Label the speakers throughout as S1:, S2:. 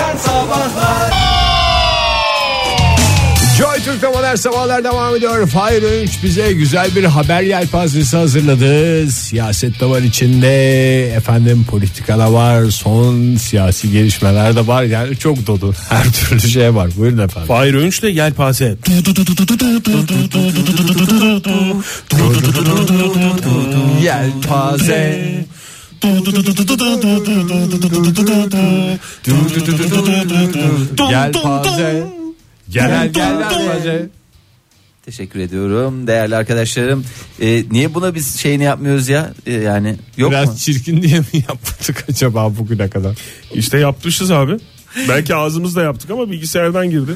S1: Sabahlar
S2: Joy Türk'te modern sabahlar devam ediyor. Fahir Öğünç bize güzel bir haber yelpazesi hazırladı. Siyaset de var içinde. Efendim politikada var. Son siyasi gelişmeler de var. Yani çok dolu. Her türlü şey var. Buyurun efendim.
S3: Fahir Önç'le Yelpaze.
S2: Yelpaze. Yelpaze. Gel gel yelpaze.
S1: Teşekkür ediyorum değerli arkadaşlarım. Ee, niye buna biz şeyini yapmıyoruz ya? Ee, yani yok
S2: Biraz
S1: mu?
S2: çirkin diye mi yaptık acaba bugüne kadar?
S3: İşte yapmışız abi. Belki ağzımızla yaptık ama bilgisayardan girdi.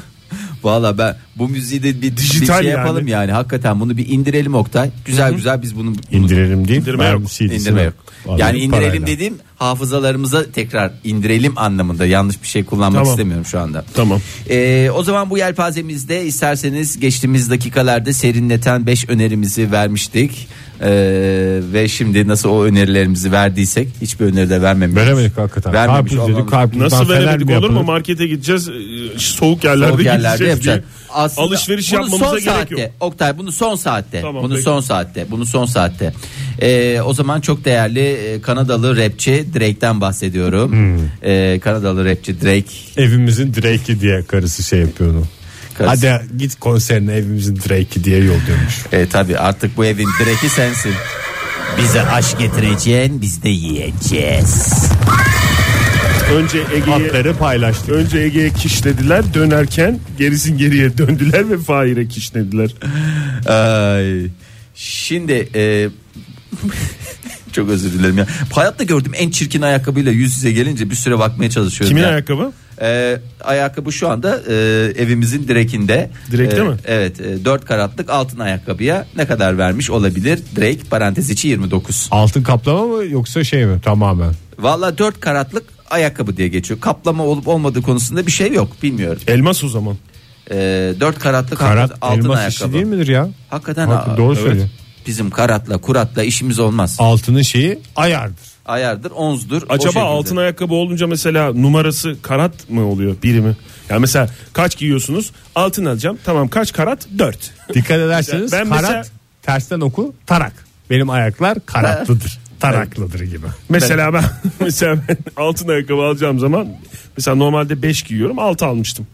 S1: Valla ben bu müziği de bir,
S3: Dijital
S1: bir şey
S3: yani.
S1: yapalım yani. Hakikaten bunu bir indirelim Oktay. Güzel güzel biz bunu
S2: İndirelim değil.
S3: İndirme
S2: Ben şey
S3: yok.
S2: CD'sini
S1: indirme yok.
S2: alayım
S1: Yani indirelim
S2: parayla.
S1: dediğim hafızalarımıza tekrar indirelim anlamında. Yanlış bir şey kullanmak
S3: Tamam.
S1: istemiyorum şu anda.
S3: Tamam.
S1: Ee, o zaman bu yelpazemizde isterseniz geçtiğimiz dakikalarda serinleten 5 önerimizi vermiştik. Ee, ve şimdi nasıl o önerilerimizi verdiysek hiçbir öneri de vermemiş.
S2: Veremedik hakikaten.
S1: Vermemiş
S2: Karpuz dedik
S1: olmamız-
S2: karpuzdan
S3: Nasıl
S2: fener
S3: veremedik
S2: mi
S3: olur mu?
S2: yapılır?
S3: Markete gideceğiz. e, Soğuk yerlerde
S1: Soğuk yerlerde
S3: gideceğiz diye.
S1: yapacaksın. Aslında
S3: Alışveriş
S1: bunu
S3: yapmamıza
S1: son
S3: gerek
S1: saatte.
S3: yok.
S1: Oktay bunu son saatte.
S3: Tamam,
S1: bunu
S3: peki.
S1: son saatte. Bunu son saatte. Ee, o zaman çok değerli e, Kanadalı rapçi Drake'den bahsediyorum. Ee, Kanadalı rapçi Drake.
S2: Evimizin Drake'i diye karısı şey yapıyor onu.
S1: Karısı.
S2: Hadi git konserine evimizin Drake'i diye yolluyormuş.
S1: E, tabii artık bu evin Drake'i sensin. Bize aşk getireceksin, biz de yiyeceğiz.
S3: Önce Ege'ye
S2: Atları paylaştı.
S3: önce Ege'ye kişnediler. Dönerken gerisin geriye döndüler ve Fahir'e kişnediler.
S1: Ay. Şimdi e, çok özür dilerim ya. Hayatta gördüğüm en çirkin ayakkabıyla yüz yüze gelince bir süre bakmaya çalışıyorum.
S3: Kimin
S1: ya.
S3: ayakkabı?
S1: E, ayakkabı şu anda e, evimizin direkinde.
S3: Direkte
S1: E,
S3: mi?
S1: Evet. 4 karatlık altın ayakkabıya ne kadar vermiş olabilir? Drake parantez içi 29.
S2: Altın kaplama mı yoksa şey mi tamamen?
S1: Valla 4 karatlık ayakkabı diye geçiyor. Kaplama olup olmadığı konusunda bir şey yok bilmiyorum.
S3: Elmas o zaman.
S1: E, 4 karatlık
S2: Karat
S1: altın
S2: elmas
S1: ayakkabı.
S2: işi değil midir ya?
S1: Hakikaten
S2: Haklı,
S1: aa,
S2: doğru
S1: evet.
S2: söylüyor.
S1: Bizim karatla kuratla işimiz olmaz.
S2: Altının şeyi ayardır.
S1: Ayardır, onzdur. o
S3: Acaba
S1: şekilde.
S3: altın ayakkabı olunca mesela numarası karat mı oluyor birimi? Yani mesela kaç giyiyorsunuz? Altın alacağım. Tamam kaç karat? 4.
S2: Dikkat ederseniz
S3: Ben
S2: karat
S3: mesela-
S2: tersten oku tarak. Benim ayaklar karatlıdır. Taraklıdır gibi.
S3: Mesela ben mesela ben altın ayakkabı alacağım zaman mesela normalde 5 giyiyorum 6 almıştım.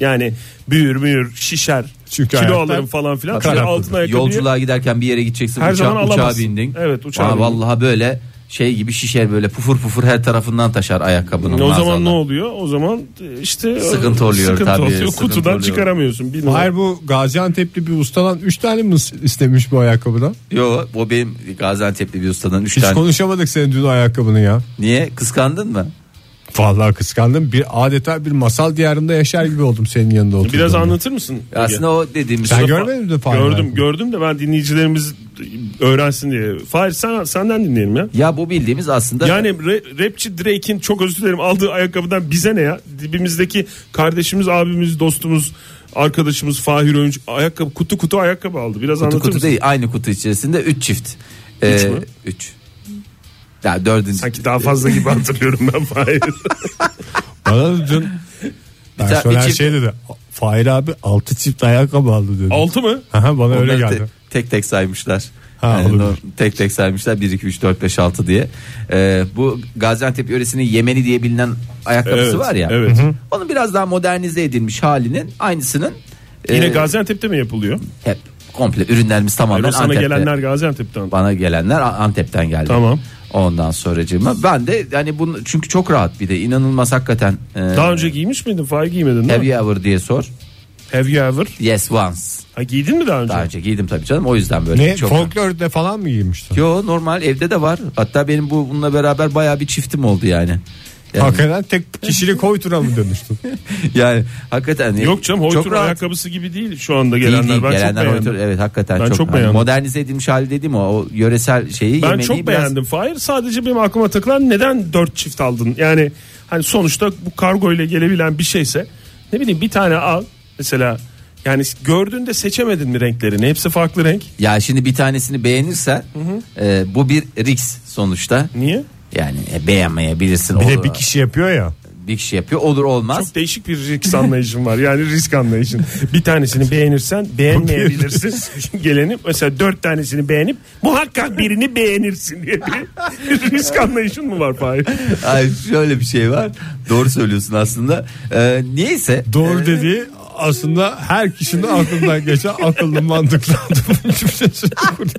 S3: Yani büyür müyür şişer
S2: Çünkü
S3: kilo
S2: ayaklar
S3: alırım falan filan.
S2: karatlıdır.
S3: Şimdi altın ayakkabıyı
S1: Yolculuğa giderken bir yere gideceksin
S3: Her
S1: uçağa,
S3: zaman
S1: uçağa
S3: alamazsın.
S1: bindin.
S3: Evet, uçağa
S1: Aa,
S3: bindin.
S1: Vallahi böyle şey gibi şişer böyle pufur pufur her tarafından taşar ayakkabının.
S3: o
S1: maazallah.
S3: zaman ne oluyor? O zaman e, işte
S1: Sıkıntı oluyor
S3: sıkıntı
S1: tabii,
S3: oluyor.
S1: sıkıntı
S3: Kutudan
S1: oluyor.
S3: çıkaramıyorsun. Bir numara.
S2: Hayır bu Gaziantep'li bir ustadan 3 tane mi istemiş bu ayakkabıdan?
S1: Yo o benim Gaziantep'li bir ustadan 3
S2: Hiç
S1: tane.
S2: konuşamadık senin dün ayakkabını ya.
S1: Niye kıskandın mı?
S2: Vallahi kıskandım. Bir adeta bir masal diyarında yaşar gibi oldum senin yanında oturduğumda.
S3: Biraz anlatır mısın? Ege?
S1: Aslında o dediğimiz şey-
S2: Sen
S1: Mustafa-
S2: görmedin mi Fahir?
S3: Gördüm gördüm de ben dinleyicilerimiz öğrensin diye. Fahir sen, senden dinleyelim ya.
S1: Ya bu bildiğimiz aslında
S3: Yani ra- rapçi Drake'in çok özür dilerim aldığı ayakkabıdan bize ne ya? Dibimizdeki kardeşimiz, abimiz, dostumuz, arkadaşımız Fahir Öğünç ayakkabı kutu kutu ayakkabı aldı. Biraz
S1: kutu
S3: anlatır
S1: kutu
S3: mısın?
S1: değil aynı kutu içerisinde 3 çift. 3
S3: Üç mü?
S1: 3. Ya dördüncü.
S3: Sanki daha fazla gibi hatırlıyorum ben Fahir.
S2: Bana da dün
S1: bir
S2: personel
S1: çift-
S2: şey dedi. Fahir abi 6 çift ayakkabı aldı dedi.
S3: Altı mı?
S2: Aha, bana öyle
S1: Onları te-
S2: geldi.
S1: tek tek saymışlar.
S2: Ha,
S1: Yani
S2: olabilir.
S1: o- tek tek saymışlar 1 2 3 4 5 6 diye. Ee, bu Gaziantep yöresinin Yemeni diye bilinen ayakkabısı
S3: Evet,
S1: var ya.
S3: evet. Hı hı.
S1: Onun biraz daha modernize edilmiş halinin aynısının
S3: Yine
S1: e,
S3: Gaziantep'te mi yapılıyor?
S1: hep komple ürünlerimiz
S3: Hayır,
S1: tamamen
S3: o sana
S1: Antep'te.
S3: gelenler Gaziantep'ten.
S1: Bana gelenler A- Antep'ten geldi.
S3: Tamam.
S1: Ondan sonracığıma ben de yani bunu çünkü çok rahat bir de inanılmaz hakikaten. e,
S3: Daha önce giymiş miydin? Fahir giymedin değil
S1: have
S3: mi?
S1: you ever diye sor.
S3: Have you ever?
S1: Yes once.
S3: Ha, giydin mi daha önce?
S1: Daha önce giydim tabii canım o yüzden böyle.
S2: Ne
S1: çok
S2: folklorda falan mı giymiştin?
S1: Yo normal evde de var. Hatta benim bu bununla beraber bayağı bir çiftim oldu yani. Yani,
S2: Hakikaten tek kişilik hoytura mı dönüştün?
S1: yani hakikaten
S3: Yok canım
S1: çok
S3: Hoytur
S1: rahat.
S3: ayakkabısı gibi değil şu anda
S1: Değil,
S3: gelenler.
S1: değil.
S3: ben
S1: gelenler
S3: çok
S1: Hoytur-
S3: beğendim.
S1: evet hakikaten
S3: Ben
S1: çok,
S3: çok
S1: hani
S3: beğendim.
S1: modernize edilmiş hali dedim o, o yöresel şeyi
S3: Ben
S1: yemeği
S3: çok
S1: biraz-
S3: beğendim Fahir. Sadece benim aklıma takılan neden dört çift aldın? Yani hani sonuçta bu kargo ile gelebilen bir şeyse ne bileyim bir tane al mesela yani gördüğünde seçemedin mi renklerini? Hepsi farklı renk.
S1: Ya şimdi bir tanesini beğenirsen e, bu bir risk sonuçta.
S3: Niye?
S1: Yani e, beğenmeyebilirsin.
S2: Bir
S1: O-
S2: de bir kişi yapıyor ya.
S1: bir dikiş yapıyor. Olur olmaz.
S3: Çok değişik bir risk anlayışım var. Yani risk anlayışın. Bir tanesini beğenirsen beğenmeyebilirsin. Geleni mesela dört tanesini beğenip muhakkak birini beğenirsin diye bir risk anlayışın mı var Fahir?
S1: Ay, şöyle bir şey var. Doğru söylüyorsun aslında. Ee, niyeyse
S2: Doğru dediği aslında her kişinin aklından geçen akıllı mantıklı adam. Hiçbir şey söylemiyor.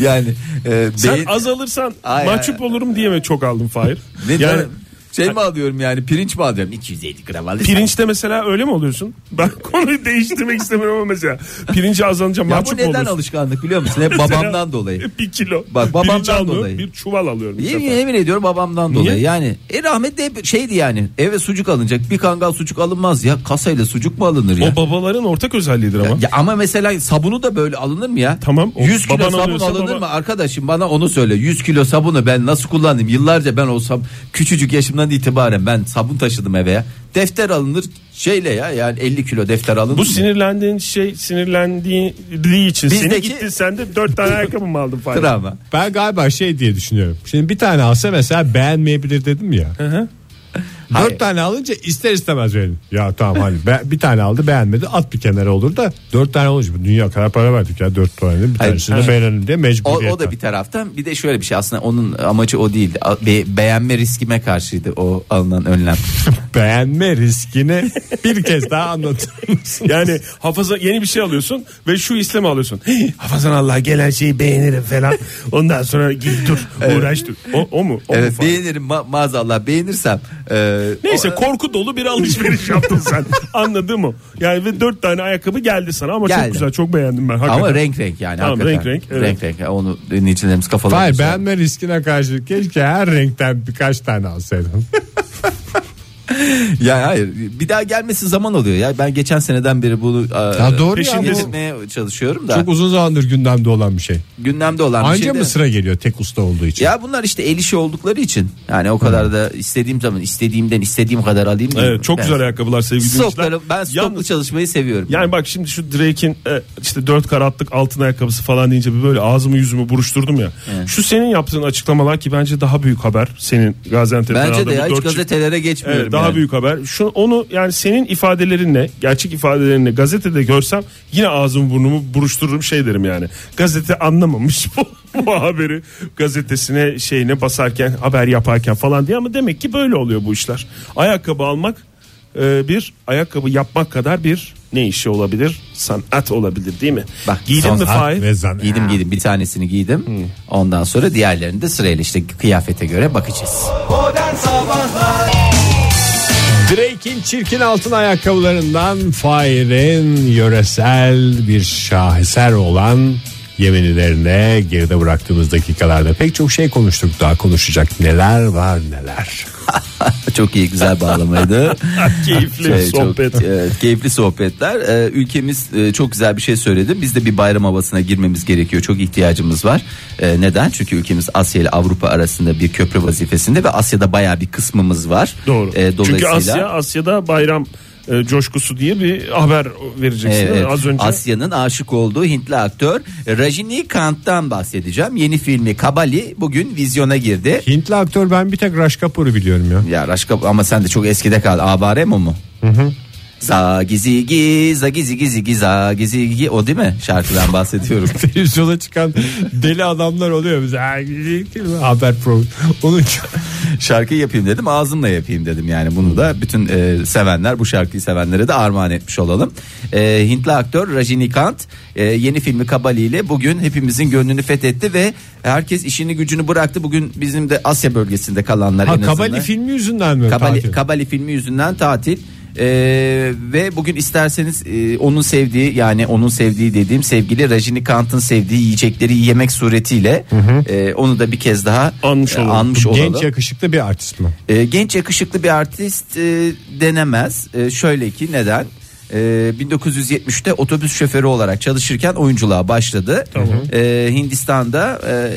S1: yani e,
S3: Sen
S1: beyin-
S3: azalırsan
S1: Ay,
S3: mahcup olurum diye mi çok aldın Fahir?
S1: Ne
S3: yani
S1: canım? şey mi alıyorum yani pirinç mi alıyorum 250 gram alıyorum.
S3: Pirinçte mesela öyle mi oluyorsun? Ben konuyu değiştirmek istemiyorum ama mesela pirince azalınca
S1: ya bu
S3: mahcup
S1: neden
S3: olursun.
S1: alışkanlık biliyor musun? Hep
S3: Mesela
S1: babamdan dolayı.
S3: Bir kilo.
S1: Bak, babamdan
S3: Pirinç almıyorum,
S1: dolayı.
S3: Bir çuval alıyorum. bu
S1: Yemin,
S3: sefer.
S1: yemin ediyorum babamdan
S3: Niye?
S1: dolayı. Yani e, rahmetli hep şeydi yani eve sucuk alınacak bir kangal sucuk alınmaz ya kasayla sucuk mu alınır ya?
S3: O babaların ortak özelliğidir ama.
S1: Ya ama mesela sabunu da böyle alınır mı ya?
S3: Tamam, o
S1: 100 kilo
S3: baban
S1: sabun
S3: alıyorsa
S1: alınır
S3: baba-
S1: mı arkadaşım? Bana onu söyle. 100 kilo sabunu ben nasıl kullandım? Yıllarca ben olsam küçücük yaşımdan itibaren ben sabun taşıdım eve ya. Defter alınır şeyle ya. Yani 50 kilo defter alınır.
S3: Bu
S1: mı?
S3: sinirlendiğin şey sinirlendiği için seni
S1: Bizdeki-
S3: gitti sen de dört tane ayakkabı mı aldın falan.
S1: Travma.
S2: Ben galiba şey diye düşünüyorum. Şimdi bir tane alsa mesela beğenmeyebilir dedim ya.
S1: Hayır.
S2: Dört tane alınca ister istemez verin. Ya tamam hani be- bir tane aldı beğenmedi at bir kenara olur da dört tane olunca bu dünya kadar para verdik ya dört tane bir
S1: Hayır,
S2: tanesini
S1: hayır.
S2: beğenelim diye
S1: O,
S2: mecburiyetten.
S1: o da bir taraftan bir de şöyle bir şey aslında onun amacı o değildi. A- Be- beğenme riskime karşıydı o alınan önlem.
S2: Beğenme riskini bir kez daha anlatır mısın?
S3: Yani hafaza yeni bir şey alıyorsun ve şu istemi alıyorsun. Hey, hafazan Allah gelen şeyi beğenirim falan. Ondan sonra git dur uğraş dur. O, o mu? O mu
S1: evet
S3: falan?
S1: beğenirim ma- maazallah beğenirsem. e,
S3: Neyse
S1: o-
S3: korku dolu bir alışveriş yaptın sen. Anladın mı? Yani ve dört tane ayakkabı geldi sana ama
S1: Geldi.
S3: çok güzel çok beğendim ben. Hakikaten.
S1: ama renk renk yani.
S3: Tamam,
S1: hakikaten.
S3: renk renk, evet.
S1: Renk renk. Onu dinleyicilerimiz kafalarına.
S2: Hayır beğenme riskine karşı keşke her renkten birkaç tane alsaydın.
S1: şey- Ya hayır bir daha gelmesi zaman oluyor ya ben geçen seneden beri bunu e,
S2: Ya doğru ya,
S1: peşinde
S2: bu-
S1: gitmeye çalışıyorum da
S2: Çok uzun zamandır gündemde olan bir şey.
S1: gündemde olan bir
S2: Anca
S1: şey de-
S2: mı sıra geliyor tek usta olduğu için?
S1: Ya bunlar işte el işi oldukları için yani o kadar da istediğim zaman istediğimden istediğim kadar alayım.
S3: Hmm. Evet, çok
S1: Ben-
S3: güzel ayakkabılar sevgili
S1: Stokları
S3: dinleyiciler.
S1: ben stoklu
S3: Yalnız-
S1: çalışmayı seviyorum.
S3: Yani bak şimdi şu Drake'in e, işte 4 karatlık altın ayakkabısı falan deyince bir böyle ağzımı yüzümü buruşturdum ya. Şu senin yaptığın açıklamalar ki bence daha büyük haber senin Gaziantep'ten
S1: Bence de
S3: aldığın bu
S1: ya hiç
S3: dört çift-
S1: gazetelere geçmiyorum.
S3: Evet, daha
S1: yani.
S3: büyük haber. Şu onu yani senin ifadelerinle, gerçek ifadelerinle gazetede görsem yine ağzımı burnumu buruştururum şey derim yani. Gazete anlamamış bu, bu haberi gazetesine şeyine basarken, haber yaparken falan diye ama demek ki böyle oluyor bu işler. Ayakkabı almak e, bir ayakkabı yapmak kadar bir ne işi olabilir? Sanat olabilir değil mi?
S1: Bak,
S3: giydin mi
S1: sanat
S3: Fahir?
S2: Ve zan-
S1: Giydim giydim bir tanesini giydim.
S3: Hmm.
S1: Ondan sonra diğerlerini de sırayla işte kıyafete göre bakacağız.
S2: Drake'in çirkin altın ayakkabılarından Fahir'in yöresel bir şaheser olan yeminlerine geride bıraktığımız dakikalarda pek çok şey konuştuk. Daha konuşacak neler var neler.
S1: Çok iyi güzel bağlamaydı.
S3: Keyifli
S1: Şey,
S3: sohbet.
S1: Çok, evet, keyifli sohbetler. Ee, ülkemiz e, çok güzel bir şey söyledi. Biz de bir bayram havasına girmemiz gerekiyor. Çok ihtiyacımız var. Ee, neden? Çünkü ülkemiz Asya ile Avrupa arasında bir köprü vazifesinde ve Asya'da bayağı bir kısmımız var.
S3: Doğru.
S1: Ee,
S3: Çünkü
S1: dolayısıyla-
S3: Asya Asya'da bayram e, coşkusu diye bir haber vereceksin.
S1: Evet,
S3: Az önce
S1: Asya'nın aşık olduğu Hintli aktör Rajinikanth'tan bahsedeceğim. Yeni filmi Kabali bugün vizyona girdi.
S2: Hintli aktör ben bir tek Raj Kapoor'u biliyorum ya.
S1: Ya Raşka ama sen de çok eskide kal. Avare mi mu? Hı Za gizi gi za gizi gizi gi za gizi gi o değil mi? Şarkıdan bahsediyorum.
S2: Televizyona çıkan deli adamlar oluyor bize. Ha, Haber programı. Onun
S1: Şarkı yapayım dedim ağzımla yapayım dedim yani bunu da bütün e, sevenler bu şarkıyı sevenlere de armağan etmiş olalım. E, Hintli aktör Rajinikanth e, yeni filmi Kabali ile bugün hepimizin gönlünü fethetti ve herkes işini gücünü bıraktı. Bugün bizim de Asya bölgesinde kalanlar
S2: ha,
S1: en azından.
S2: Kabali filmi yüzünden mi?
S1: Kabali,
S2: tatil?
S1: Kabali filmi yüzünden tatil. Ee, ve bugün isterseniz e, onun sevdiği yani onun sevdiği dediğim sevgili Rajinikanth'ın sevdiği yiyecekleri yemek suretiyle e, onu da bir kez daha
S3: Anmış
S1: e,
S3: olalım.
S1: anmış olalım.
S2: Genç yakışıklı bir artist mi?
S1: E, genç yakışıklı bir artist e, denemez. E, şöyle ki neden? E, 1970'te otobüs şoförü olarak çalışırken oyunculuğa başladı. E, Hindistan'da e,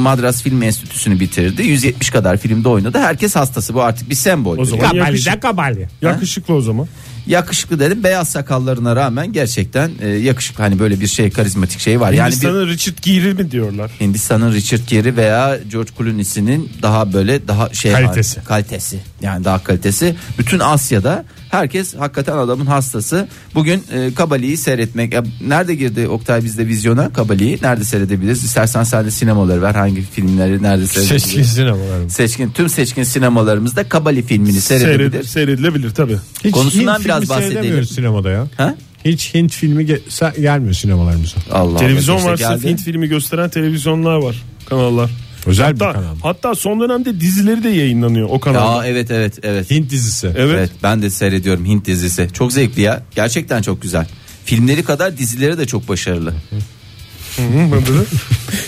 S1: Madras Film Enstitüsü'nü bitirdi. 170 kadar filmde oynadı. Herkes hastası. Bu artık bir sembol.
S3: O zaman-
S2: Kabali
S3: Yakışık-
S2: de Kabali.
S3: yakışıklı o zaman.
S1: Yakışıklı dedim beyaz sakallarına rağmen gerçekten e, yakışıklı hani böyle bir şey karizmatik şey var. Yani bir
S3: Hindistan'ın Richard Gere'i mi diyorlar?
S1: Hindistan'ın Richard Gere veya George Clooney'sinin daha böyle daha şey
S2: Kalitesi.
S1: kalitesi yani daha kalitesi bütün Asya'da herkes hakikaten adamın hastası. Bugün e, Kabali'yi seyretmek ya, nerede girdi Oktay bizde vizyona Kabali'yi nerede seyredebiliriz? İstersen sen de sinemaları ver hangi filmleri nerede seyredebiliriz?
S2: Seçkin
S1: Seçkin.
S2: sinemalarım.
S1: tüm seçkin sinemalarımızda Kabali filmini
S3: Seyredilir.
S1: seyredebilir.
S3: Seyredilebilir tabii.
S2: Hiç
S1: Konusundan
S2: Hint
S1: biraz
S2: filmi
S1: bahsedelim.
S2: seyredemiyoruz sinemada ya.
S1: Ha?
S2: Hiç Hint filmi ge- sa- gelmiyor sinemalarımıza.
S1: Allah Allah,
S3: Televizyon
S1: keşke
S3: varsa
S1: geldi.
S3: Hint filmi gösteren televizyonlar var. Kanallar.
S2: Özel bir
S3: Hatta,
S2: kanal.
S3: hatta son dönemde dizileri de yayınlanıyor o kanalda.
S1: Aa evet evet evet.
S2: Hint dizisi.
S3: evet.
S1: Evet ben de seyrediyorum Hint dizisi. Çok zevkli ya. Gerçekten çok güzel. Filmleri kadar dizileri de çok başarılı.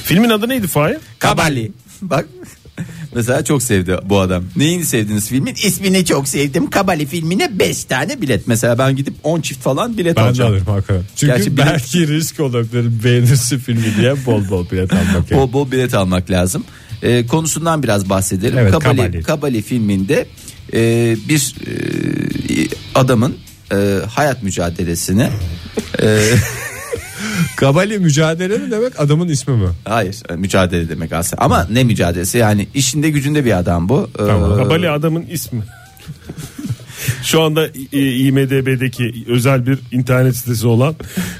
S3: Filmin adı neydi Fahir?
S1: Kabali. Bak mesela çok sevdi bu adam. Neyini sevdiniz filmin? İsmini çok sevdim. Kabali filmine 5 tane bilet. Mesela ben gidip 10 çift falan bilet
S2: Ben de
S1: alacağım.
S2: alırım hakikaten. Çünkü
S1: Gerçi bilim-
S2: belki risk olabilir beğenirse filmi diye bol bol bilet almak. yani.
S1: Bol bol bilet almak lazım. Ee, konusundan biraz bahsedelim.
S2: Evet,
S1: Kabali,
S2: Kabali.
S1: Kabali. filminde e, bir e, adamın e, hayat mücadelesini e,
S2: Kabali mücadele mi demek adamın ismi mi?
S1: Hayır e, mücadele demek aslında ama ne mücadelesi yani işinde gücünde bir adam bu. Ee,
S2: Tamam.
S3: Kabali adamın ismi. Şu anda e, IMDB'deki özel bir internet sitesi olan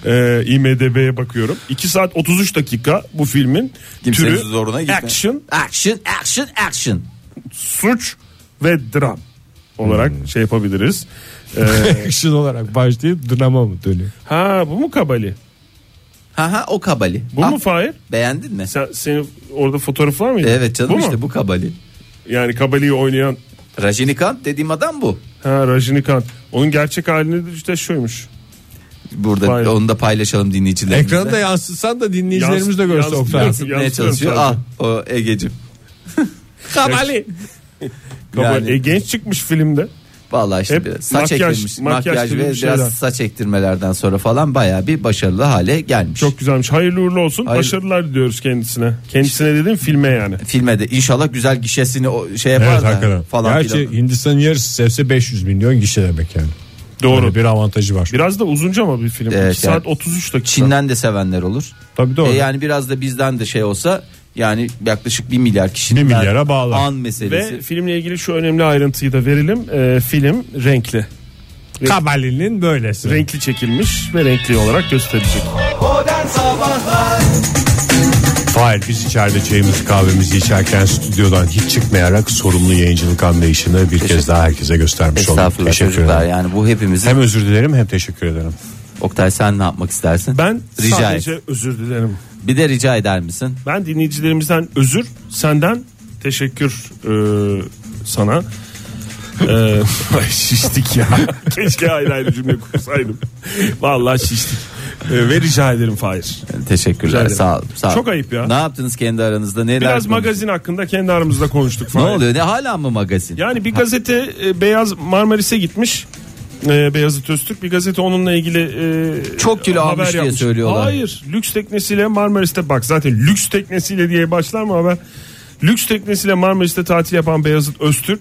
S3: e, IMDB'ye bakıyorum. 2 saat 33 dakika bu filmin
S1: kimsenin
S3: türü
S1: zoruna gitme.
S3: action,
S1: Action action action.
S3: suç ve dram olarak
S1: Hmm.
S3: şey yapabiliriz. E,
S2: Action olarak başlayıp drama mı dönüyor?
S3: ha bu mu Kabali?
S1: Ha ha o kabali.
S3: Bu
S1: Ah,
S3: mu Fahir?
S1: Beğendin mi?
S3: Sen, senin orada fotoğraf var mıydı?
S1: Evet canım
S3: mu?
S1: işte bu kabali.
S3: Yani Kabali'yi oynayan
S1: Rajinikanth dediğim adam bu.
S3: ha, Rajinikanth. Onun gerçek halini de işte şuymuş.
S1: Burada
S3: Vay.
S1: onu da paylaşalım dinleyicilerimizle.
S2: Ekranda yansıtsan da dinleyicilerimiz de
S3: Yans-
S2: görse
S3: yans-
S2: Oktay.
S3: yans-
S1: ne çalışıyor? Ah
S3: yansıtıyorum
S1: o Ege'cim.
S2: Kabali.
S3: Kabali.
S1: Yani-
S3: E, genç çıkmış filmde.
S1: Vallahi işte
S3: Hep
S1: biraz saç
S3: makyaj-
S1: ektirmiş.
S3: makyaj
S1: Makyaj,
S3: gibi
S1: ve
S3: bir
S1: biraz
S3: şeyler.
S1: saç ektirmelerden sonra falan baya bir başarılı hale gelmiş.
S3: Çok güzelmiş. Hayırlı uğurlu olsun.
S1: Hayır.
S3: Başarılar diliyoruz kendisine. Kendisine dedim filme yani.
S1: filme de inşallah güzel gişesini o şey yapar
S2: Evet
S1: da
S2: hakikaten.
S1: falan
S2: Gerçi
S1: filan.
S2: Hindistan'ın yarısı sevse 500 milyon kişi demek yani.
S3: Doğru.
S2: Öyle bir avantajı var.
S3: Biraz da uzunca ama bir film.
S1: Evet,
S3: 2
S1: yani.
S3: saat 33 dakika.
S1: Çin'den de sevenler olur.
S2: Tabii doğru.
S1: E yani biraz da bizden de şey olsa yani yaklaşık 1 milyar kişinin
S2: Bir
S1: der-
S2: milyara bağlar.
S1: an
S3: Ve
S1: meselesi.
S3: filmle ilgili şu önemli ayrıntıyı da verelim. Ee, film renkli.
S2: Kabali'nin böylesi.
S3: Renkli çekilmiş ve renkli olarak gösterilecek.
S2: Hayır biz içeride çayımızı kahvemizi içerken stüdyodan hiç çıkmayarak sorumlu yayıncılık anlayışını bir kez daha herkese göstermiş olduk.
S1: Estağfurullah
S2: Teşekkür
S1: çocuklar
S2: ederim.
S1: yani bu hepimizin.
S2: Hem özür dilerim hem teşekkür ederim.
S1: Oktay sen ne yapmak istersin?
S3: Ben
S1: rica
S3: sadece
S1: et.
S3: özür dilerim.
S1: Bir de rica eder misin?
S3: Ben dinleyicilerimizden özür, senden teşekkür e, sana. E, ay şiştik ya. Keşke ayrı ayrı cümle kursaydım. Vallahi şiştik. E, ve rica ederim Fahir.
S1: Teşekkürler.
S3: ederim.
S1: Sağ ol. Sağ ol.
S3: Çok ayıp ya.
S1: Ne yaptınız kendi aranızda? Neler
S3: Biraz
S1: konuştunuz?
S3: magazin hakkında kendi aramızda konuştuk
S1: Ne
S3: Fahir.
S1: oluyor? Ne hala mı magazin?
S3: Yani bir gazete e, Beyaz Marmaris'e gitmiş. E, Beyazıt Öztürk bir gazete onunla ilgili e,
S1: Çok kilo
S3: haber
S1: almış diye
S3: yapmış.
S1: söylüyorlar.
S3: Hayır lüks teknesiyle Marmaris'te bak zaten lüks teknesiyle diye başlar mı haber? Lüks teknesiyle Marmaris'te tatil yapan Beyazıt Öztürk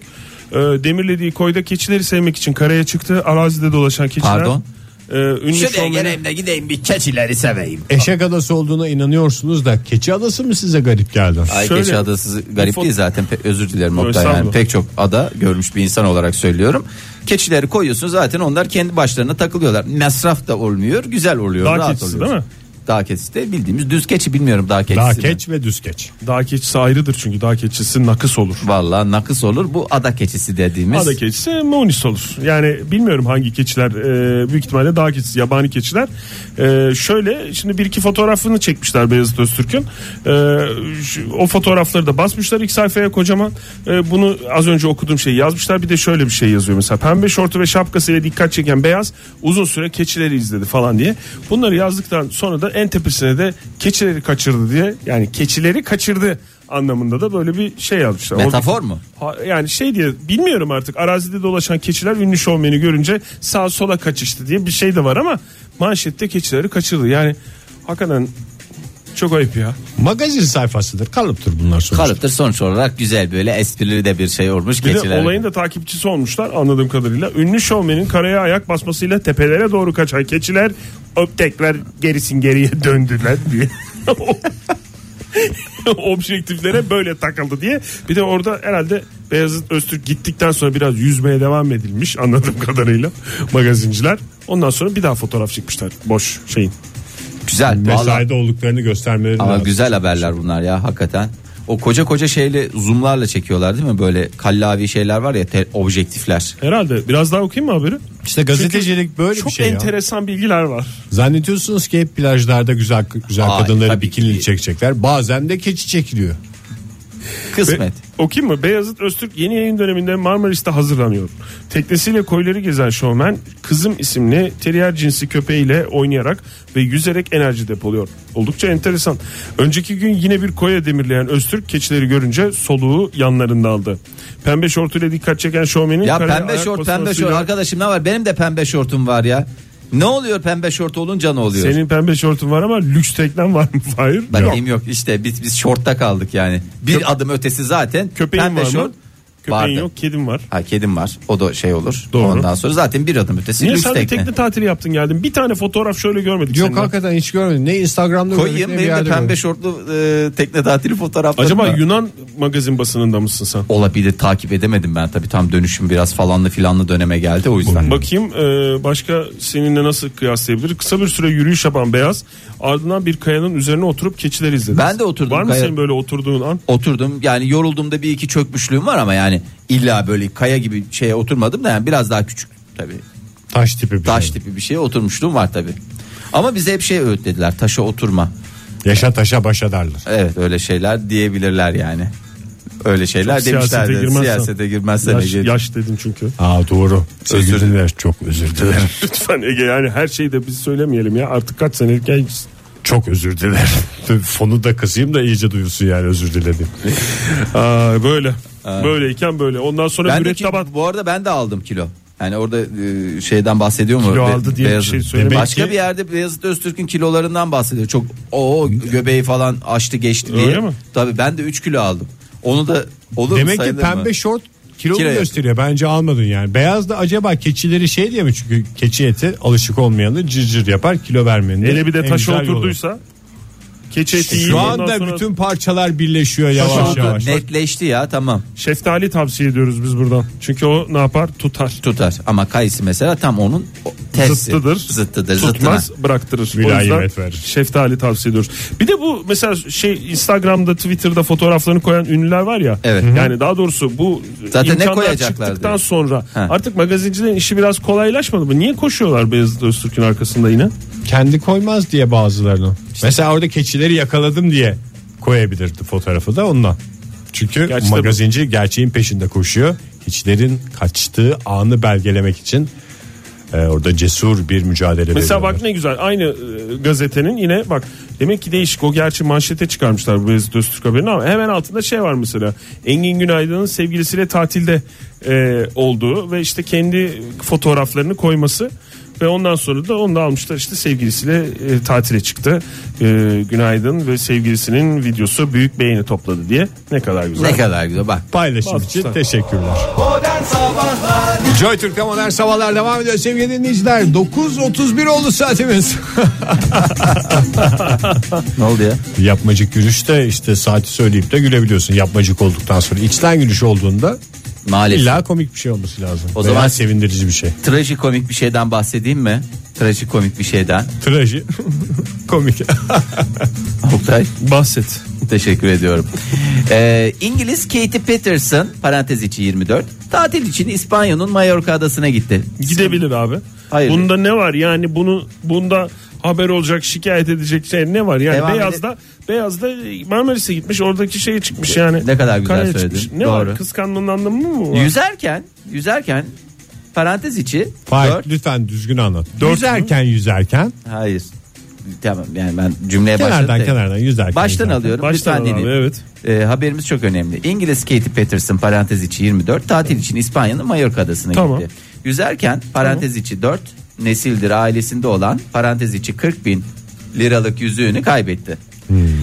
S3: e, demirlediği koyda keçileri sevmek için karaya çıktı. Arazide dolaşan keçiler.
S1: Pardon?
S3: E, ünlü
S1: Şuraya
S3: şovmeni-
S1: geleyim de gideyim bir keçileri seveyim.
S2: Eşek adası olduğuna inanıyorsunuz da keçi adası mı size garip geldi?
S1: Ay
S3: Şöyle-
S1: Keşke adası garip
S3: Bu fot-
S1: değil zaten Pe- özür dilerim
S3: Yo,
S1: Oktay yani
S3: estağfurullah.
S1: pek çok ada görmüş bir insan olarak söylüyorum. Keçileri koyuyorsun zaten onlar kendi başlarına takılıyorlar. Masraf da olmuyor güzel oluyor.
S3: Dağ
S1: rahat
S3: keçisi
S1: oluyorsun.
S3: değil mi?
S1: Dağ keçisi de bildiğimiz düz keçi bilmiyorum dağ keçisi.
S2: Daha
S1: mi?
S2: keç ve düz keç.
S3: Dağ keçisi ayrıdır çünkü dağ keçisi nakıs olur.
S1: Vallahi nakıs olur bu ada keçisi dediğimiz.
S3: Ada keçisi munis olur. Yani bilmiyorum hangi keçiler e, büyük ihtimalle dağ keçisi yabani keçiler. E, şöyle şimdi bir iki fotoğrafını çekmişler Beyazıt Öztürk'ün. E, şu- o fotoğrafları da basmışlar ilk sayfaya kocaman. E, bunu az önce okuduğum şeyi yazmışlar. Bir de şöyle bir şey yazıyor mesela. Pembe şortu ve şapkasıyla dikkat çeken beyaz uzun süre keçileri izledi falan diye. Bunları yazdıktan sonra da en tepesine de keçileri kaçırdı diye yani keçileri kaçırdı anlamında da böyle bir şey yazmışlar.
S1: Metafor mu?
S3: Ha- Yani şey diye bilmiyorum artık arazide dolaşan keçiler ünlü şovmeni görünce sağa sola kaçıştı diye bir şey de var ama manşette keçileri kaçırdı. Yani hakikaten Çok ayıp ya.
S2: Magazin sayfasıdır. Kalıptır bunlar sonuçta.
S1: Kalıptır sonuç olarak güzel böyle esprili de bir şey olmuş.
S3: Bir de
S1: keçiler.
S3: olayın da takipçisi olmuşlar anladığım kadarıyla. Ünlü şovmenin karaya ayak basmasıyla tepelere doğru kaçan keçiler öptekler gerisin geriye döndüler diye. objektiflere böyle takıldı diye. Bir de orada herhalde Beyazıt Öztürk gittikten sonra biraz yüzmeye devam edilmiş anladığım kadarıyla magazinciler. Ondan sonra bir daha fotoğraf çıkmışlar boş şeyin.
S1: Güzel. Vallahi,
S2: Mesaide olduklarını göstermeleri
S1: ama
S2: lazım.
S1: güzel haberler bunlar ya hakikaten. O koca koca şeyle zoomlarla çekiyorlar değil mi? Böyle kallavi şeyler var ya te- objektifler.
S3: Herhalde biraz daha okuyayım mı haberi?
S2: İşte gazetecilik böyle
S3: Çok
S2: bir şey ya.
S3: enteresan bilgiler var.
S2: Zannediyorsunuz ki hep plajlarda güzel güzel
S1: Hayır,
S2: kadınları
S1: tabii
S2: bikinili
S1: ki.
S2: çekecekler. Bazen de keçi çekiliyor.
S1: Kısmet.
S3: Okuyayım mı? Beyazıt Öztürk yeni yayın döneminde Marmaris'te hazırlanıyor. Teknesiyle koyları gezen şovmen kızım isimli terrier cinsi köpeğiyle oynayarak ve yüzerek enerji depoluyor. Oldukça enteresan. Önceki gün yine bir koya demirleyen Öztürk keçileri görünce soluğu yanlarında aldı. Pembe şortuyla dikkat çeken şovmenin
S1: Ya
S3: karaya
S1: pembe
S3: ayak
S1: şort pembe
S3: basmasıyla-
S1: şort arkadaşım ne var? Benim de pembe şortum var ya. Ne oluyor pembe şort olunca ne oluyor?
S3: Senin pembe şortun var ama lüks teknen var mı? Hayır.
S1: Ben
S3: yok.
S1: deyim yok işte biz biz şortta kaldık yani. Bir adım ötesi zaten
S3: Köpeğin
S1: pembe
S3: var mı?
S1: şort.
S3: Köpeğin
S1: vardı.
S3: yok kedim var.
S1: Ha kedim var. O da şey olur.
S3: Doğru.
S1: Ondan sonra zaten bir adım ötesi
S3: Niye
S1: lüks
S3: sen de
S1: tekne.
S3: tekne tatili yaptın geldin? Bir tane fotoğraf şöyle görmedik.
S2: Yok
S3: seninle.
S2: hakikaten hiç görmedim. Ne Instagram'da
S1: Koyayım
S2: gördük, ne bir
S1: benim de
S2: yerde
S1: pembe
S2: gördük.
S1: şortlu e, tekne tatili fotoğrafları.
S3: Acaba
S1: da-
S3: Yunan magazin basınında mısın sen?
S1: olabilir takip edemedim ben tabii tam dönüşüm biraz falanlı filanlı döneme geldi o yüzden.
S3: Bakayım e, başka seninle nasıl kıyaslayabilir? Kısa bir süre yürüyüş yapan Beyaz ardından bir kayanın üzerine oturup keçiler izledi.
S1: Ben de oturdum
S3: Var mı
S1: kaya-
S3: senin böyle oturduğun an?
S1: Oturdum yani yorulduğumda bir iki çökmüşlüğüm var ama yani illa böyle kaya gibi şeye oturmadım da yani biraz daha küçük tabii.
S2: Taş tipi bir
S1: Taş
S2: şey.
S1: tipi bir şeye oturmuşluğum var tabii. Ama bize hep şey öğütlediler taşa oturma.
S2: Yaşa taşa başa darlar.
S1: Evet öyle şeyler diyebilirler yani. Öyle şeyler
S3: Çok
S1: demişlerdi.
S3: siyasete
S1: Siyasete,
S3: girmezsen.
S1: girmezsen
S3: Yaş,
S1: Ege.
S3: yaş dedin çünkü.
S2: Aa doğru.
S1: Özür
S2: Sevgili dinleyiciler, çok özür dilerim.
S3: Lütfen Ege yani her şeyi de biz söylemeyelim ya. Artık kaç senelik gençsin.
S2: Çok özür dilerim. Tabii Fonu da kısayım da iyice duyulsun yani özür diledim.
S3: Aa, böyle. Böyleyken böyle. Ondan sonra
S1: Ben de ki-
S3: mürettebat
S1: bu arada ben de aldım kilo. Yani orada e, şeyden bahsediyor mu?
S3: Kilo aldı diye bir
S1: Beyazıt.
S3: şey söylemek
S1: Başka
S3: ki-
S1: bir yerde Beyazıt Öztürk'ün kilolarından bahsediyor. Çok o göbeği falan açtı geçti diye.
S3: Öyle mi?
S1: Tabii ben de 3 kilo aldım. Onu da olur mu,
S2: Demek ki
S1: sayılır
S2: pembe
S1: mı?
S2: şort kilo
S1: Kilo yok.
S2: gösteriyor. Bence almadın yani. Beyaz da acaba keçileri şey diye mi? Çünkü keçi eti alışık olmayanı cırcır yapar kilo vermenin.
S3: hele bir de
S2: en
S3: taşa
S2: güzel yolu.
S3: oturduysa keçi eti yiyin,
S2: Şu
S3: ondan
S2: anda
S3: sonra
S2: bütün parçalar birleşiyor
S1: Şu
S2: yavaş
S1: oldu,
S2: yavaş.
S1: netleşti ya tamam
S3: şeftali tavsiye ediyoruz biz buradan. Çünkü o ne yapar? Tutar.
S1: tutar ama kayısı mesela tam onun o- tersi
S3: Zıttıdır.
S1: zıttıdır
S3: Tutmaz
S1: zıttına.
S3: bıraktırır. o
S2: Mülayimet
S3: yüzden
S2: verir.
S3: şeftali tavsiye ediyoruz. Bir de bu mesela şey Instagram'da Twitter'da fotoğraflarını koyan ünlüler var ya.
S1: Evet.
S3: Yani daha doğrusu bu
S1: Zaten ne
S3: imkanlar
S1: koyacaklar
S3: çıktıktan
S1: diyor.
S3: sonra
S1: Ha.
S3: artık magazincilerin işi biraz kolaylaşmadı mı? Niye koşuyorlar Beyazıt Öztürk'ün arkasında yine?
S2: Kendi koymaz diye bazılarını. Mesela orada keçileri yakaladım diye koyabilirdi fotoğrafı da ondan. Çünkü
S3: Gerçi
S2: magazinci gerçeğin peşinde koşuyor. Keçilerin kaçtığı anı belgelemek için e, orada cesur bir mücadele
S3: Mesela
S2: veriyorlar.
S3: bak ne güzel aynı e, gazetenin yine bak demek ki değişik o gerçi manşete çıkarmışlar bu Beyazıt Öztürk haberini ama hemen altında şey var mesela Engin Günaydın'ın sevgilisiyle tatilde e, olduğu ve işte kendi fotoğraflarını koyması ve ondan sonra da onu da almışlar işte sevgilisiyle e, tatile çıktı. E, günaydın ve sevgilisinin videosu büyük beğeni topladı diye. Ne kadar güzel.
S1: Ne kadar güzel bak.
S2: Paylaşım için
S3: Bak-
S2: teşekkürler. Joy Türk'te modern sabahlar devam ediyor sevgili dinleyiciler. 9.31 oldu saatimiz.
S1: Ne oldu ya?
S2: Yapmacık gülüşte işte saati söyleyip de gülebiliyorsun yapmacık olduktan sonra. içten gülüş olduğunda
S1: Maalesef.
S2: illa komik bir şey olması lazım. O
S1: O
S2: zaman
S1: zaman-
S2: sevindirici bir şey.
S1: Trajikomik bir şeyden bahsedeyim mi? Trajikomik bir şeyden.
S2: Traji komik.
S1: Oktay.
S3: Bahset.
S1: Teşekkür ediyorum. Ee, İngiliz Katie Peterson parantez içi 24 tatil için İspanya'nın Mallorca adasına gitti.
S3: Gidebilir abi.
S1: Hayır.
S3: Bunda ne var yani bunu bunda haber olacak şikayet edecek şey ne var yani
S1: Devam
S3: beyazda beyazda Marmaris'e gitmiş oradaki şeye çıkmış yani.
S1: Ne kadar güzel
S3: Karaya
S1: söyledin.
S3: çıkmış. Ne var
S1: Doğru.
S3: kıskandığın anlamı mı var?
S1: Yüzerken yüzerken parantez içi
S2: Hayır
S1: 4
S2: lütfen düzgün anlat.
S3: Dört
S2: yüzerken yüzerken
S1: hayır tamam yani ben cümleye başladım.
S2: kenardan
S1: da-
S2: kenardan yüzerken.
S1: Baştan
S2: yüzerken.
S1: alıyorum
S3: Baştan
S1: lütfen
S3: al abi,
S1: dinleyin.
S3: evet.
S1: Ee, haberimiz çok önemli. İngiliz Katie Peterson parantez içi 24 tatil için İspanya'nın Mallorca adasına
S3: Tamam.
S1: gitti. Yüzerken parantez içi 4 nesildir ailesinde olan parantez içi 40 bin liralık yüzüğünü kaybetti.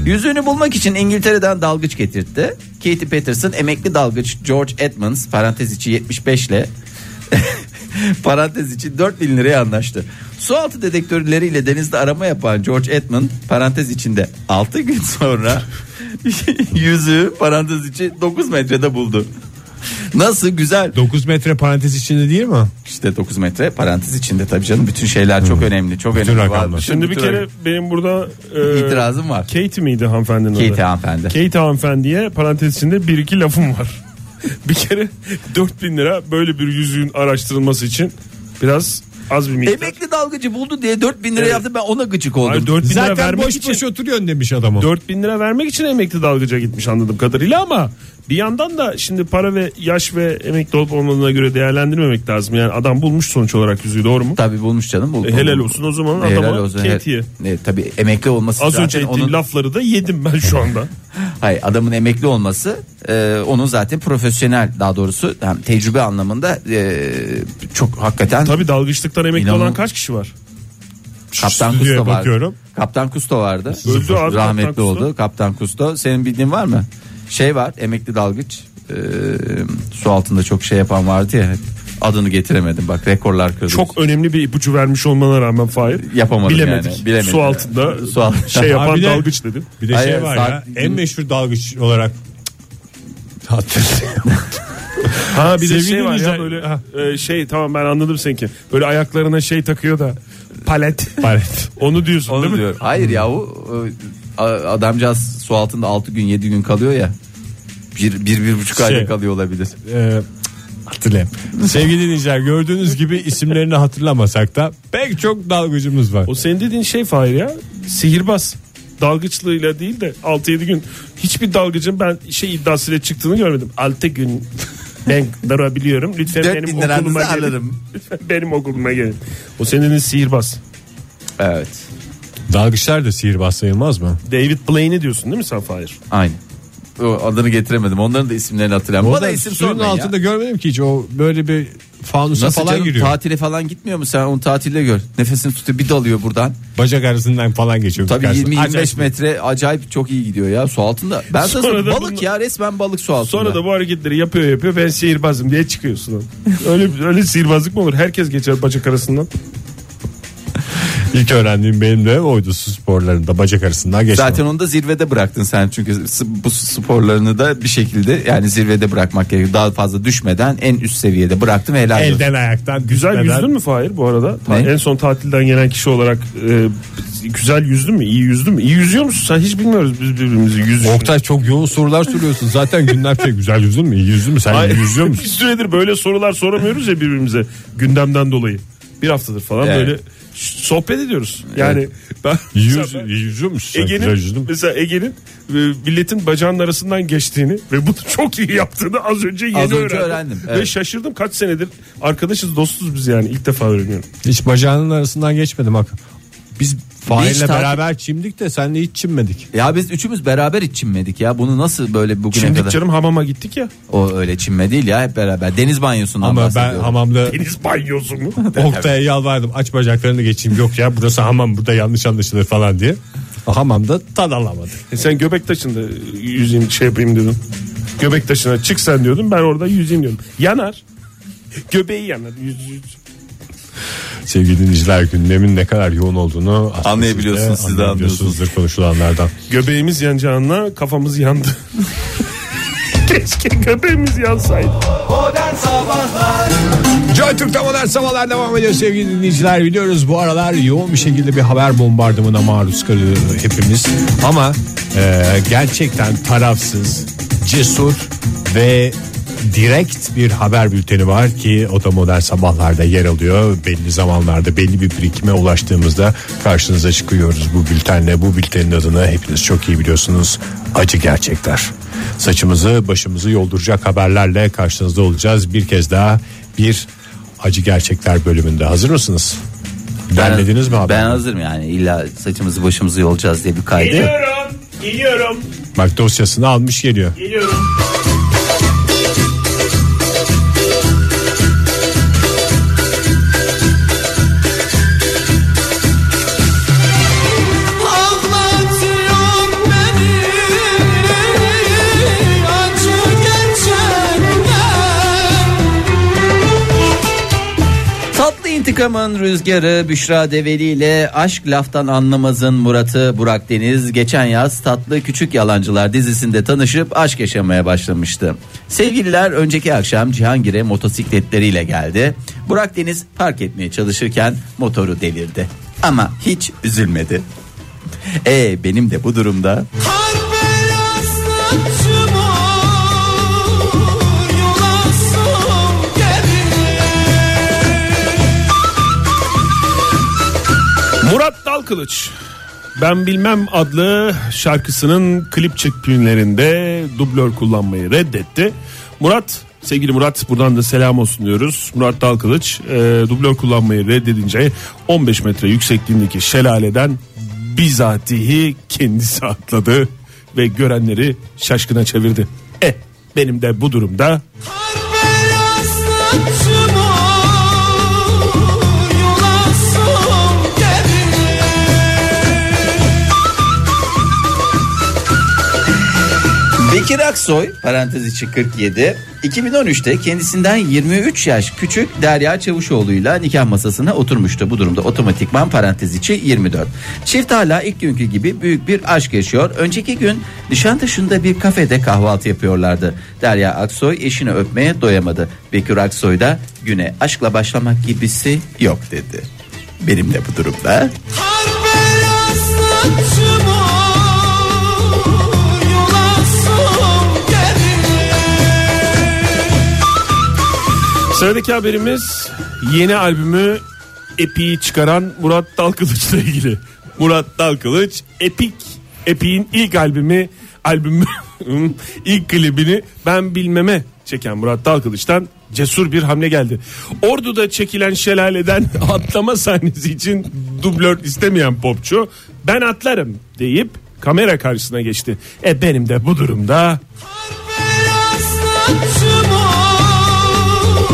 S1: Yüzüğünü bulmak için İngiltere'den dalgıç getirtti. Katie Patterson emekli dalgıç George Edmonds parantez içi 75 ile parantez içi 4 bin liraya anlaştı. Su altı dedektörleriyle denizde arama yapan George Edmond parantez içinde 6 gün sonra yüzüğü parantez içi 9 metrede buldu. Nasıl güzel
S2: 9 metre parantez içinde değil mi?
S1: işte 9 metre parantez içinde tabii canım bütün şeyler çok önemli çok
S2: Bütün
S1: önemli.
S2: rakamlar.
S1: Var-
S3: Şimdi bir
S1: bütün
S3: kere
S1: rak-
S3: benim burada e,
S1: itirazım var.
S3: Kate miydi hanımefendinin adı?
S1: Kate hanımefendi.
S3: Kate hanımefendiye parantez içinde bir iki lafım var. bir kere 4000 lira böyle bir yüzüğün araştırılması için biraz az bir miktar.
S1: Emekli dalgacı buldu diye 4000 lira yaptı ben ona gıcık oldum.
S3: Hayır, 4000 lira
S2: Zaten
S3: vermek
S2: boş
S3: için
S2: boş oturuyorsun demiş adamı.
S3: 4000 lira vermek için emekli dalgıca gitmiş anladığım kadarıyla ama bir yandan da şimdi para ve yaş ve emekli olup olmadığına göre değerlendirmemek lazım. Yani adam bulmuş sonuç olarak yüzüğü doğru mu?
S1: Tabii bulmuş canım. Buldu.
S3: E, helal olsun o zaman
S1: Helal
S3: adama
S1: olsun.
S3: Kate'ye.
S1: Ne, tabii emekli olması
S3: Az
S1: zaten
S3: önce ettiğim
S1: onun,
S3: lafları da yedim ben şu anda.
S1: hayır, adamın emekli olması e, onun zaten profesyonel daha doğrusu hem tecrübe anlamında e, çok hakikaten
S3: Tabii dalgıçlıktan emekli
S1: İnanın-
S3: olan kaç kişi var?
S1: Kaptan
S2: stüdyoya
S1: Kusto vardı.
S2: bakıyorum.
S1: Kaptan Kusto vardı.
S3: Öldü abi
S1: Rahmetli
S3: Kaptan Kusto.
S1: oldu. Kaptan Kusto. Senin bildiğin var mı? Şey var emekli dalgıç. e, su altında çok şey yapan vardı ya. Adını getiremedim bak rekorlar kırdı.
S3: Çok önemli bir ipucu vermiş olmana rağmen Fahir.
S1: Yapamadım
S3: Bilemedik.
S1: yani. Bilemedim.
S3: Su altında
S1: Su altında.
S3: şey yapan
S2: Abi de-
S3: dalgıç dedim.
S2: Bir de
S1: Hayır,
S2: şey var
S1: saat-
S2: ya en meşhur dalgıç olarak hatırlıyorum.
S3: Ha bir de
S2: Sevgili
S3: şey var ya
S2: dinleyiciler-
S3: böyle e, şey tamam ben anladım seninki. Böyle ayaklarına şey takıyor da palet.
S2: Palet.
S3: Onu diyorsun değil
S1: Onu
S3: mi?
S1: diyor. Hayır yahu e, a- adamcağız su altında 6 gün 7 gün kalıyor ya. Bir, bir, bir buçuk ayda
S2: Şey.
S1: kalıyor olabilir.
S2: Ee, hatırlayayım. Sevgili dinleyiciler gördüğünüz gibi isimlerini hatırlamasak da pek çok dalgıcımız var.
S3: O senin dediğin şey Fahir ya sihirbaz. Dalgıçlığıyla değil de 6-7 gün hiçbir dalgıcın ben şey iddiasıyla çıktığını görmedim. 6 gün ben durabiliyorum. Lütfen
S1: 4
S3: benim
S1: bin
S3: okuluma
S1: liranızı
S3: gelin.
S1: alırım.
S3: Lütfen benim okuluma gelin. O senin dediğin sihirbaz.
S1: Evet.
S2: Dalgıçlar da sihirbaz sayılmaz mı?
S3: David Blaine'i diyorsun değil mi sen Fahir?
S1: Aynı. O adını getiremedim. Onların da isimlerini hatırlamıyorum. Bana
S2: Ondan
S1: isim
S2: suyun
S1: sormayın ya.
S2: altında görmedim ki hiç o böyle bir fanusa
S1: Nasıl
S2: falan
S1: canım,
S2: giriyor.
S1: tatile falan gitmiyor mu sen onu tatilde gör. Nefesini tutuyor bir dalıyor buradan.
S2: Bacak arasından falan geçiyor.
S1: Tabii
S2: karşısına.
S1: 20-25
S2: Acayip.
S1: metre acayip çok iyi gidiyor ya su altında. Ben sana
S3: Sonra
S1: söyleyeyim,
S3: da
S1: balık
S3: bunu-
S1: ya resmen balık su altında.
S3: Sonra da bu hareketleri yapıyor yapıyor ben sihirbazım diye çıkıyorsun. öyle öyle sihirbazlık mı olur? Herkes geçer bacak arasından.
S2: İlk öğrendiğim benim de oydu su sporlarında bacak arasından geçiyor.
S1: Zaten onu da zirvede bıraktın sen çünkü s- bu sporlarını da bir şekilde yani zirvede bırakmak gerekiyor. Daha fazla düşmeden en üst seviyede bıraktım ve helal olsun.
S2: Elden ayaktan
S3: Güzel
S2: düşmeden-
S3: yüzdün mü Fahir bu arada? Ta-
S1: Ne?
S3: En son tatilden gelen kişi olarak e, güzel yüzdün mü? İyi yüzdün mü? İyi yüzüyor musun? Sen hiç bilmiyoruz biz birbirimizi yüzüşünü.
S2: Oktay çok yoğun sorular soruyorsun. Zaten günlerce güzel yüzdün mü? İyi yüzdün mü? Sen iyi yüzüyor
S3: Bir
S2: musun?
S3: süredir böyle sorular soramıyoruz ya birbirimize gündemden dolayı. Bir haftadır falan
S1: Evet.
S3: böyle ş- sohbet ediyoruz. Yani ben
S2: İyi,
S3: mesela
S2: yüz,
S3: ben-
S2: iyi yüzüyor musun? Sen güzel yüzdün
S3: Ege'nin
S2: mü?
S3: mesela Ege'nin e, milletin bacağının arasından geçtiğini ve bunu çok iyi yaptığını az önce yeni
S1: Az önce
S3: öğrendim.
S1: öğrendim, evet.
S3: Ve şaşırdım kaç senedir arkadaşız dostuz biz yani ilk defa öğreniyorum.
S2: Hiç bacağının arasından geçmedim bak. Biz
S1: Hiç
S2: Fahir'le
S1: takip-
S2: beraber çimdik de senle hiç çimmedik.
S1: Ya biz üçümüz beraber hiç çinmedik ya. Bunu nasıl böyle bugüne
S3: Şimdi
S1: kadar?
S3: canım hamama gittik ya.
S1: O öyle çinme değil ya hep beraber. Deniz banyosundan
S2: Ama ben
S1: bahsediyorum.
S2: hamamda
S3: Deniz banyosu mu?
S2: Oktay'a yalvardım aç bacaklarını geçeyim yok ya burası hamam burada yanlış anlaşılır falan diye. Hamamda tad alamadı.
S3: E sen göbek taşında yüzeyim şey yapayım diyordun. Göbek taşına çık sen diyordun ben orada yüzeyim diyordum. Yanar. Göbeği yanar. Yüz, yüz.
S2: Sevgili dinleyiciler gündemin ne kadar yoğun olduğunu aslında
S1: Anlayabiliyorsunuz, siz de
S2: anlayabiliyorsunuzdur konuşulanlardan.
S3: Göbeğimiz yanacağına kafamız yandı. Keşke göbeğimiz yansaydı.
S2: Joy Türk'te modern sabahlar devam ediyor sevgili dinleyiciler. Biliyoruz bu aralar yoğun bir şekilde bir haber bombardımına maruz kalıyor hepimiz. Ama e, gerçekten tarafsız, cesur ve direkt bir haber bülteni var ki o da modern sabahlarda yer alıyor. Belli zamanlarda belli bir birikime ulaştığımızda karşınıza çıkıyoruz bu bültenle. Bu bültenin adını hepiniz çok iyi biliyorsunuz. Acı gerçekler. Saçımızı başımızı yolduracak haberlerle karşınızda olacağız. Bir kez daha bir acı gerçekler bölümünde hazır mısınız? Derlediniz mi abi?
S1: Ben hazırım yani illa saçımızı başımızı yolacağız diye bir kaydı. yok.
S3: Geliyorum. Geliyorum.
S2: Bak dosyasını almış geliyor.
S3: Geliyorum.
S4: Anlatıyorum
S1: Politikamın rüzgarı Büşra Develi ile Aşk Laftan Anlamaz'ın Murat'ı Burak Deniz geçen yaz Tatlı Küçük Yalancılar dizisinde tanışıp aşk yaşamaya başlamıştı. Sevgililer önceki akşam Cihangir'e motosikletleriyle geldi. Burak Deniz park etmeye çalışırken motoru devirdi. Ama hiç üzülmedi. E benim de bu durumda
S4: Kar beyazlı çamur yol alsam gelir.
S3: Murat Dalkılıç Ben Bilmem adlı şarkısının klip çekimlerinde dublör kullanmayı reddetti. Murat sevgili Murat buradan da selam olsun diyoruz. Murat Dalkılıç e, dublör kullanmayı reddedince 15 metre yüksekliğindeki şelaleden bizatihi kendisi atladı ve görenleri şaşkına çevirdi. E benim de bu durumda
S4: Kar beyazlı çamur yol alsam gelir.
S1: Bekir Aksoy parantez içi 47 2013'te kendisinden 23 yaş küçük Derya Çavuşoğlu'yla nikah masasına oturmuştu. Bu durumda otomatikman parantez içi 24. Çift hala ilk günkü gibi büyük bir aşk yaşıyor. Önceki gün Nişantaşı'nda bir kafede kahvaltı yapıyorlardı. Derya Aksoy eşini öpmeye doyamadı. Bekir Aksoy da güne aşkla başlamak gibisi yok dedi. Benim de bu durumda
S4: Kar beyazlı çamur yol alsam gelir.
S3: Sıradaki haberimiz yeni albümü Epi'yi çıkaran Murat Dalkılıç'la ilgili. Murat Dalkılıç Epik Epic'in ilk albümü albümü ilk klibini ben bilmeme çeken Murat Dalkılıç'tan cesur bir hamle geldi. Ordu'da çekilen şelaleden atlama sahnesi için dublör istemeyen popçu ben atlarım deyip kamera karşısına geçti. E benim de bu durumda
S4: Kar beyazlı çamur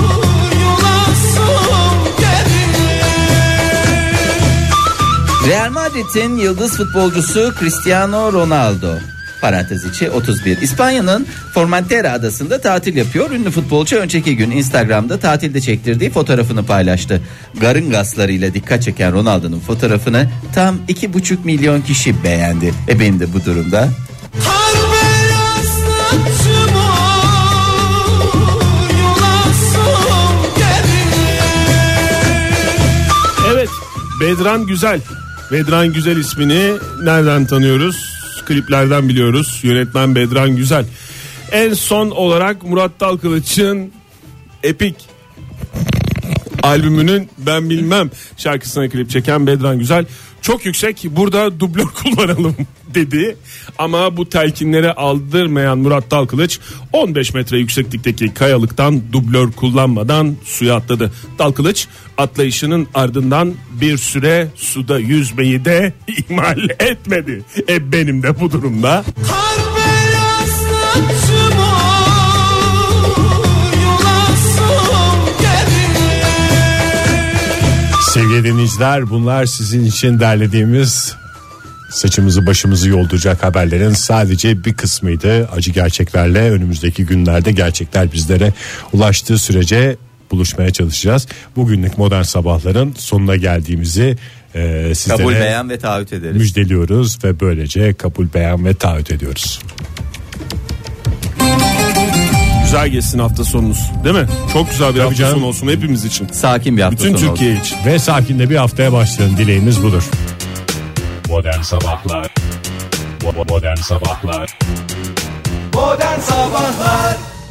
S4: yol alsam gelir.
S1: Real Madrid'in yıldız futbolcusu Cristiano Ronaldo parantez içi 31. İspanya'nın Formentera adasında tatil yapıyor. Ünlü futbolcu önceki gün Instagram'da tatilde çektirdiği fotoğrafını paylaştı. Garın gaslarıyla dikkat çeken Ronaldo'nun fotoğrafını tam 2,5 milyon kişi beğendi. E benim de bu durumda
S4: Kar beyazlı çamur yol alsam gelir.
S3: Evet Bedran Güzel. Bedran Güzel ismini nereden tanıyoruz? Kliplerden biliyoruz. Yönetmen Bedran Güzel. En son olarak Murat Dalkılıç'ın Epik albümünün Ben Bilmem şarkısına klip çeken Bedran Güzel çok yüksek burada dublör kullanalım dedi. Ama bu telkinlere aldırmayan Murat Dalkılıç 15 metre yükseklikteki kayalıktan dublör kullanmadan suya atladı. Dalkılıç atlayışının ardından bir süre suda yüzmeyi de ihmal etmedi. E benim de bu durumda
S4: Kar beyazlı çamur yol alsam gelir.
S2: Sevgili dinleyiciler bunlar sizin için derlediğimiz saçımızı başımızı yolduracak haberlerin sadece bir kısmıydı. Acı gerçeklerle önümüzdeki günlerde gerçekler bizlere ulaştığı sürece buluşmaya çalışacağız. Bugünlük modern sabahların sonuna geldiğimizi e, sizlere
S1: kabul beğen ve taahhüt ederiz.
S2: müjdeliyoruz ve böylece kabul beyan ve taahhüt ediyoruz.
S3: güzel geçsin hafta sonunuz değil mi? Çok güzel bir hafta
S2: canım.
S3: sonu olsun hepimiz için.
S1: Sakin bir hafta sonu
S3: Bütün
S1: olsun.
S3: Türkiye için.
S2: Ve sakin de bir haftaya başlayın dileğimiz budur. Modern Sabahlar Modern Sabahlar
S4: Modern Sabahlar